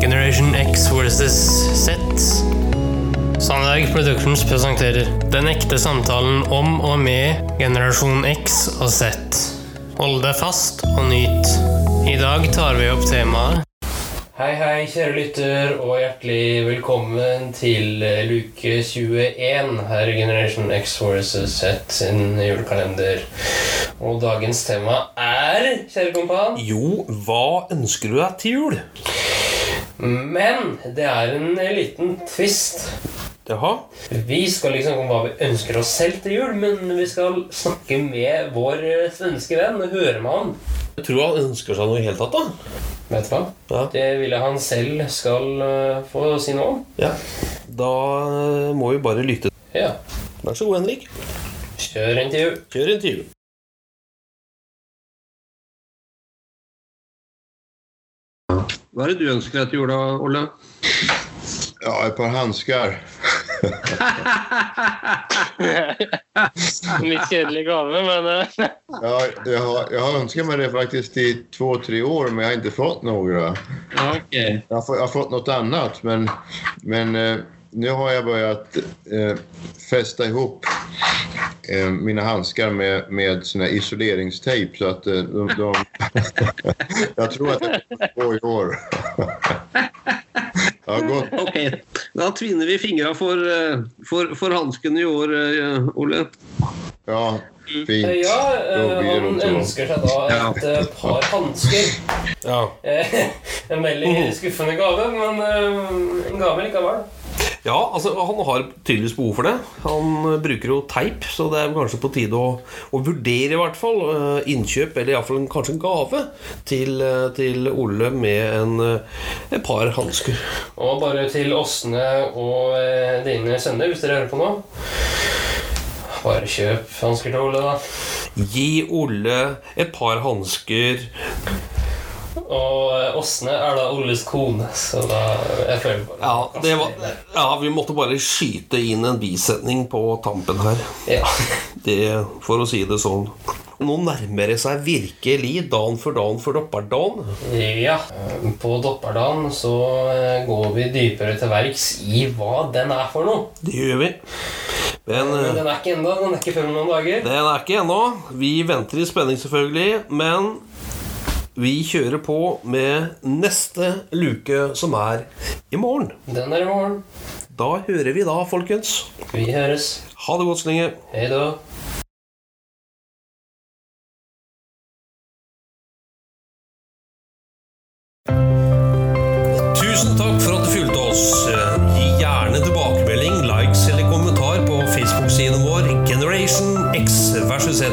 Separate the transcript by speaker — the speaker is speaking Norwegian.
Speaker 1: Generation X versus Z. Sandberg Productions presenterer Den ekte samtalen om og med generasjon X og Z. Hold deg fast og nyt. I dag tar vi opp temaet Hei, hei, kjære lytter, og hjertelig velkommen til eh, luke 21 her i Generation X versus Z sin julekalender. Og dagens tema er, kjære kompan
Speaker 2: Jo, hva ønsker du deg til jul?
Speaker 1: Men det er en eh, liten twist.
Speaker 2: Jaha?
Speaker 1: Vi skal liksom om hva vi ønsker oss selv til jul, men vi skal snakke med vår eh, svenske venn og høre med han.
Speaker 2: Jeg tror han ønsker seg noe i hele tatt, da.
Speaker 1: Vet du hva?
Speaker 2: Ja.
Speaker 1: Det ville han selv skal eh, få si noe om.
Speaker 2: ja. Da eh, må vi bare lytte.
Speaker 1: Ja.
Speaker 2: Vær så god, Henrik.
Speaker 1: Kjør intervju.
Speaker 2: Kjør intervju.
Speaker 3: Hva er det du ønsker deg til jula, Olle?
Speaker 4: Ja, ett par handskar.
Speaker 5: En litt kjedelig gave, men eh,
Speaker 4: Ja, jag, har, jag har önskat mig det faktiskt i två, tre år, men jag har inte fått några.
Speaker 3: Ok.
Speaker 4: Jag har, få- jag har fått något annat, men, men eh, nu har jag börjat eh, fästa ihop eh, mina handskar med, med sån här isoleringstejp. Så att eh, de, de, jag tror att det kommer att gå i år. Jag har gått
Speaker 3: Ok, Da tvinner vi fingra for, eh, for, for hansken i år, eh, Olle.
Speaker 4: Ja, fint.
Speaker 1: Eh, Ja, eh,
Speaker 4: Då blir det
Speaker 1: han
Speaker 4: nog så.
Speaker 1: ønsker seg da et eh, par hansker.
Speaker 2: Ja.
Speaker 1: Eh, En veldig skuffende gave, men eh, en gave likevel.
Speaker 2: ja, altså, han har tydeligvis behov for det. Han eh, bruker jo teip, så det er kanskje på tide å, å vurdere, i hvert fall, eh, innkjøp, eller iallfall kanskje en gave, til, eh, til Ole med en, eh, et par hansker.
Speaker 1: Og bare til Åsne og eh, dine sønner, hvis dere hører på nå. Bare kjøp hansker til Ole, da.
Speaker 2: Gi Ole et par hansker.
Speaker 1: Og eh, Åsne er da Oles kone, så da Jeg føler bare
Speaker 2: Ja, det var, ja, vi måtte bare skyte inn en bisetning på tampen her.
Speaker 1: Ja.
Speaker 2: Det, for å si det sånn. Nå nærmer det seg virkelig dan for dan for dopperdan.
Speaker 1: ja. Eh, På Dopperdan så eh, går vi dypere til verks i hva den er for noe.
Speaker 2: Det gjør vi. Men
Speaker 1: Men
Speaker 2: eh,
Speaker 1: den er ikke ennå. Den er ikke før om noen dager.
Speaker 2: den er ikke ennå. Vi venter i spenning, selvfølgelig. Men vi kjører på med neste luke, som er i morgen.
Speaker 1: Den er i morgen.
Speaker 2: Da hører vi da, folkens.
Speaker 1: Vi høres.
Speaker 2: Ha det godt så lenge.
Speaker 1: Hei da.
Speaker 2: Tusen takk for at du fulgte oss. Eh, Gi gjerne tilbakemelding, likes eller kommentar på Facebook-siden vår Generation X versus Z.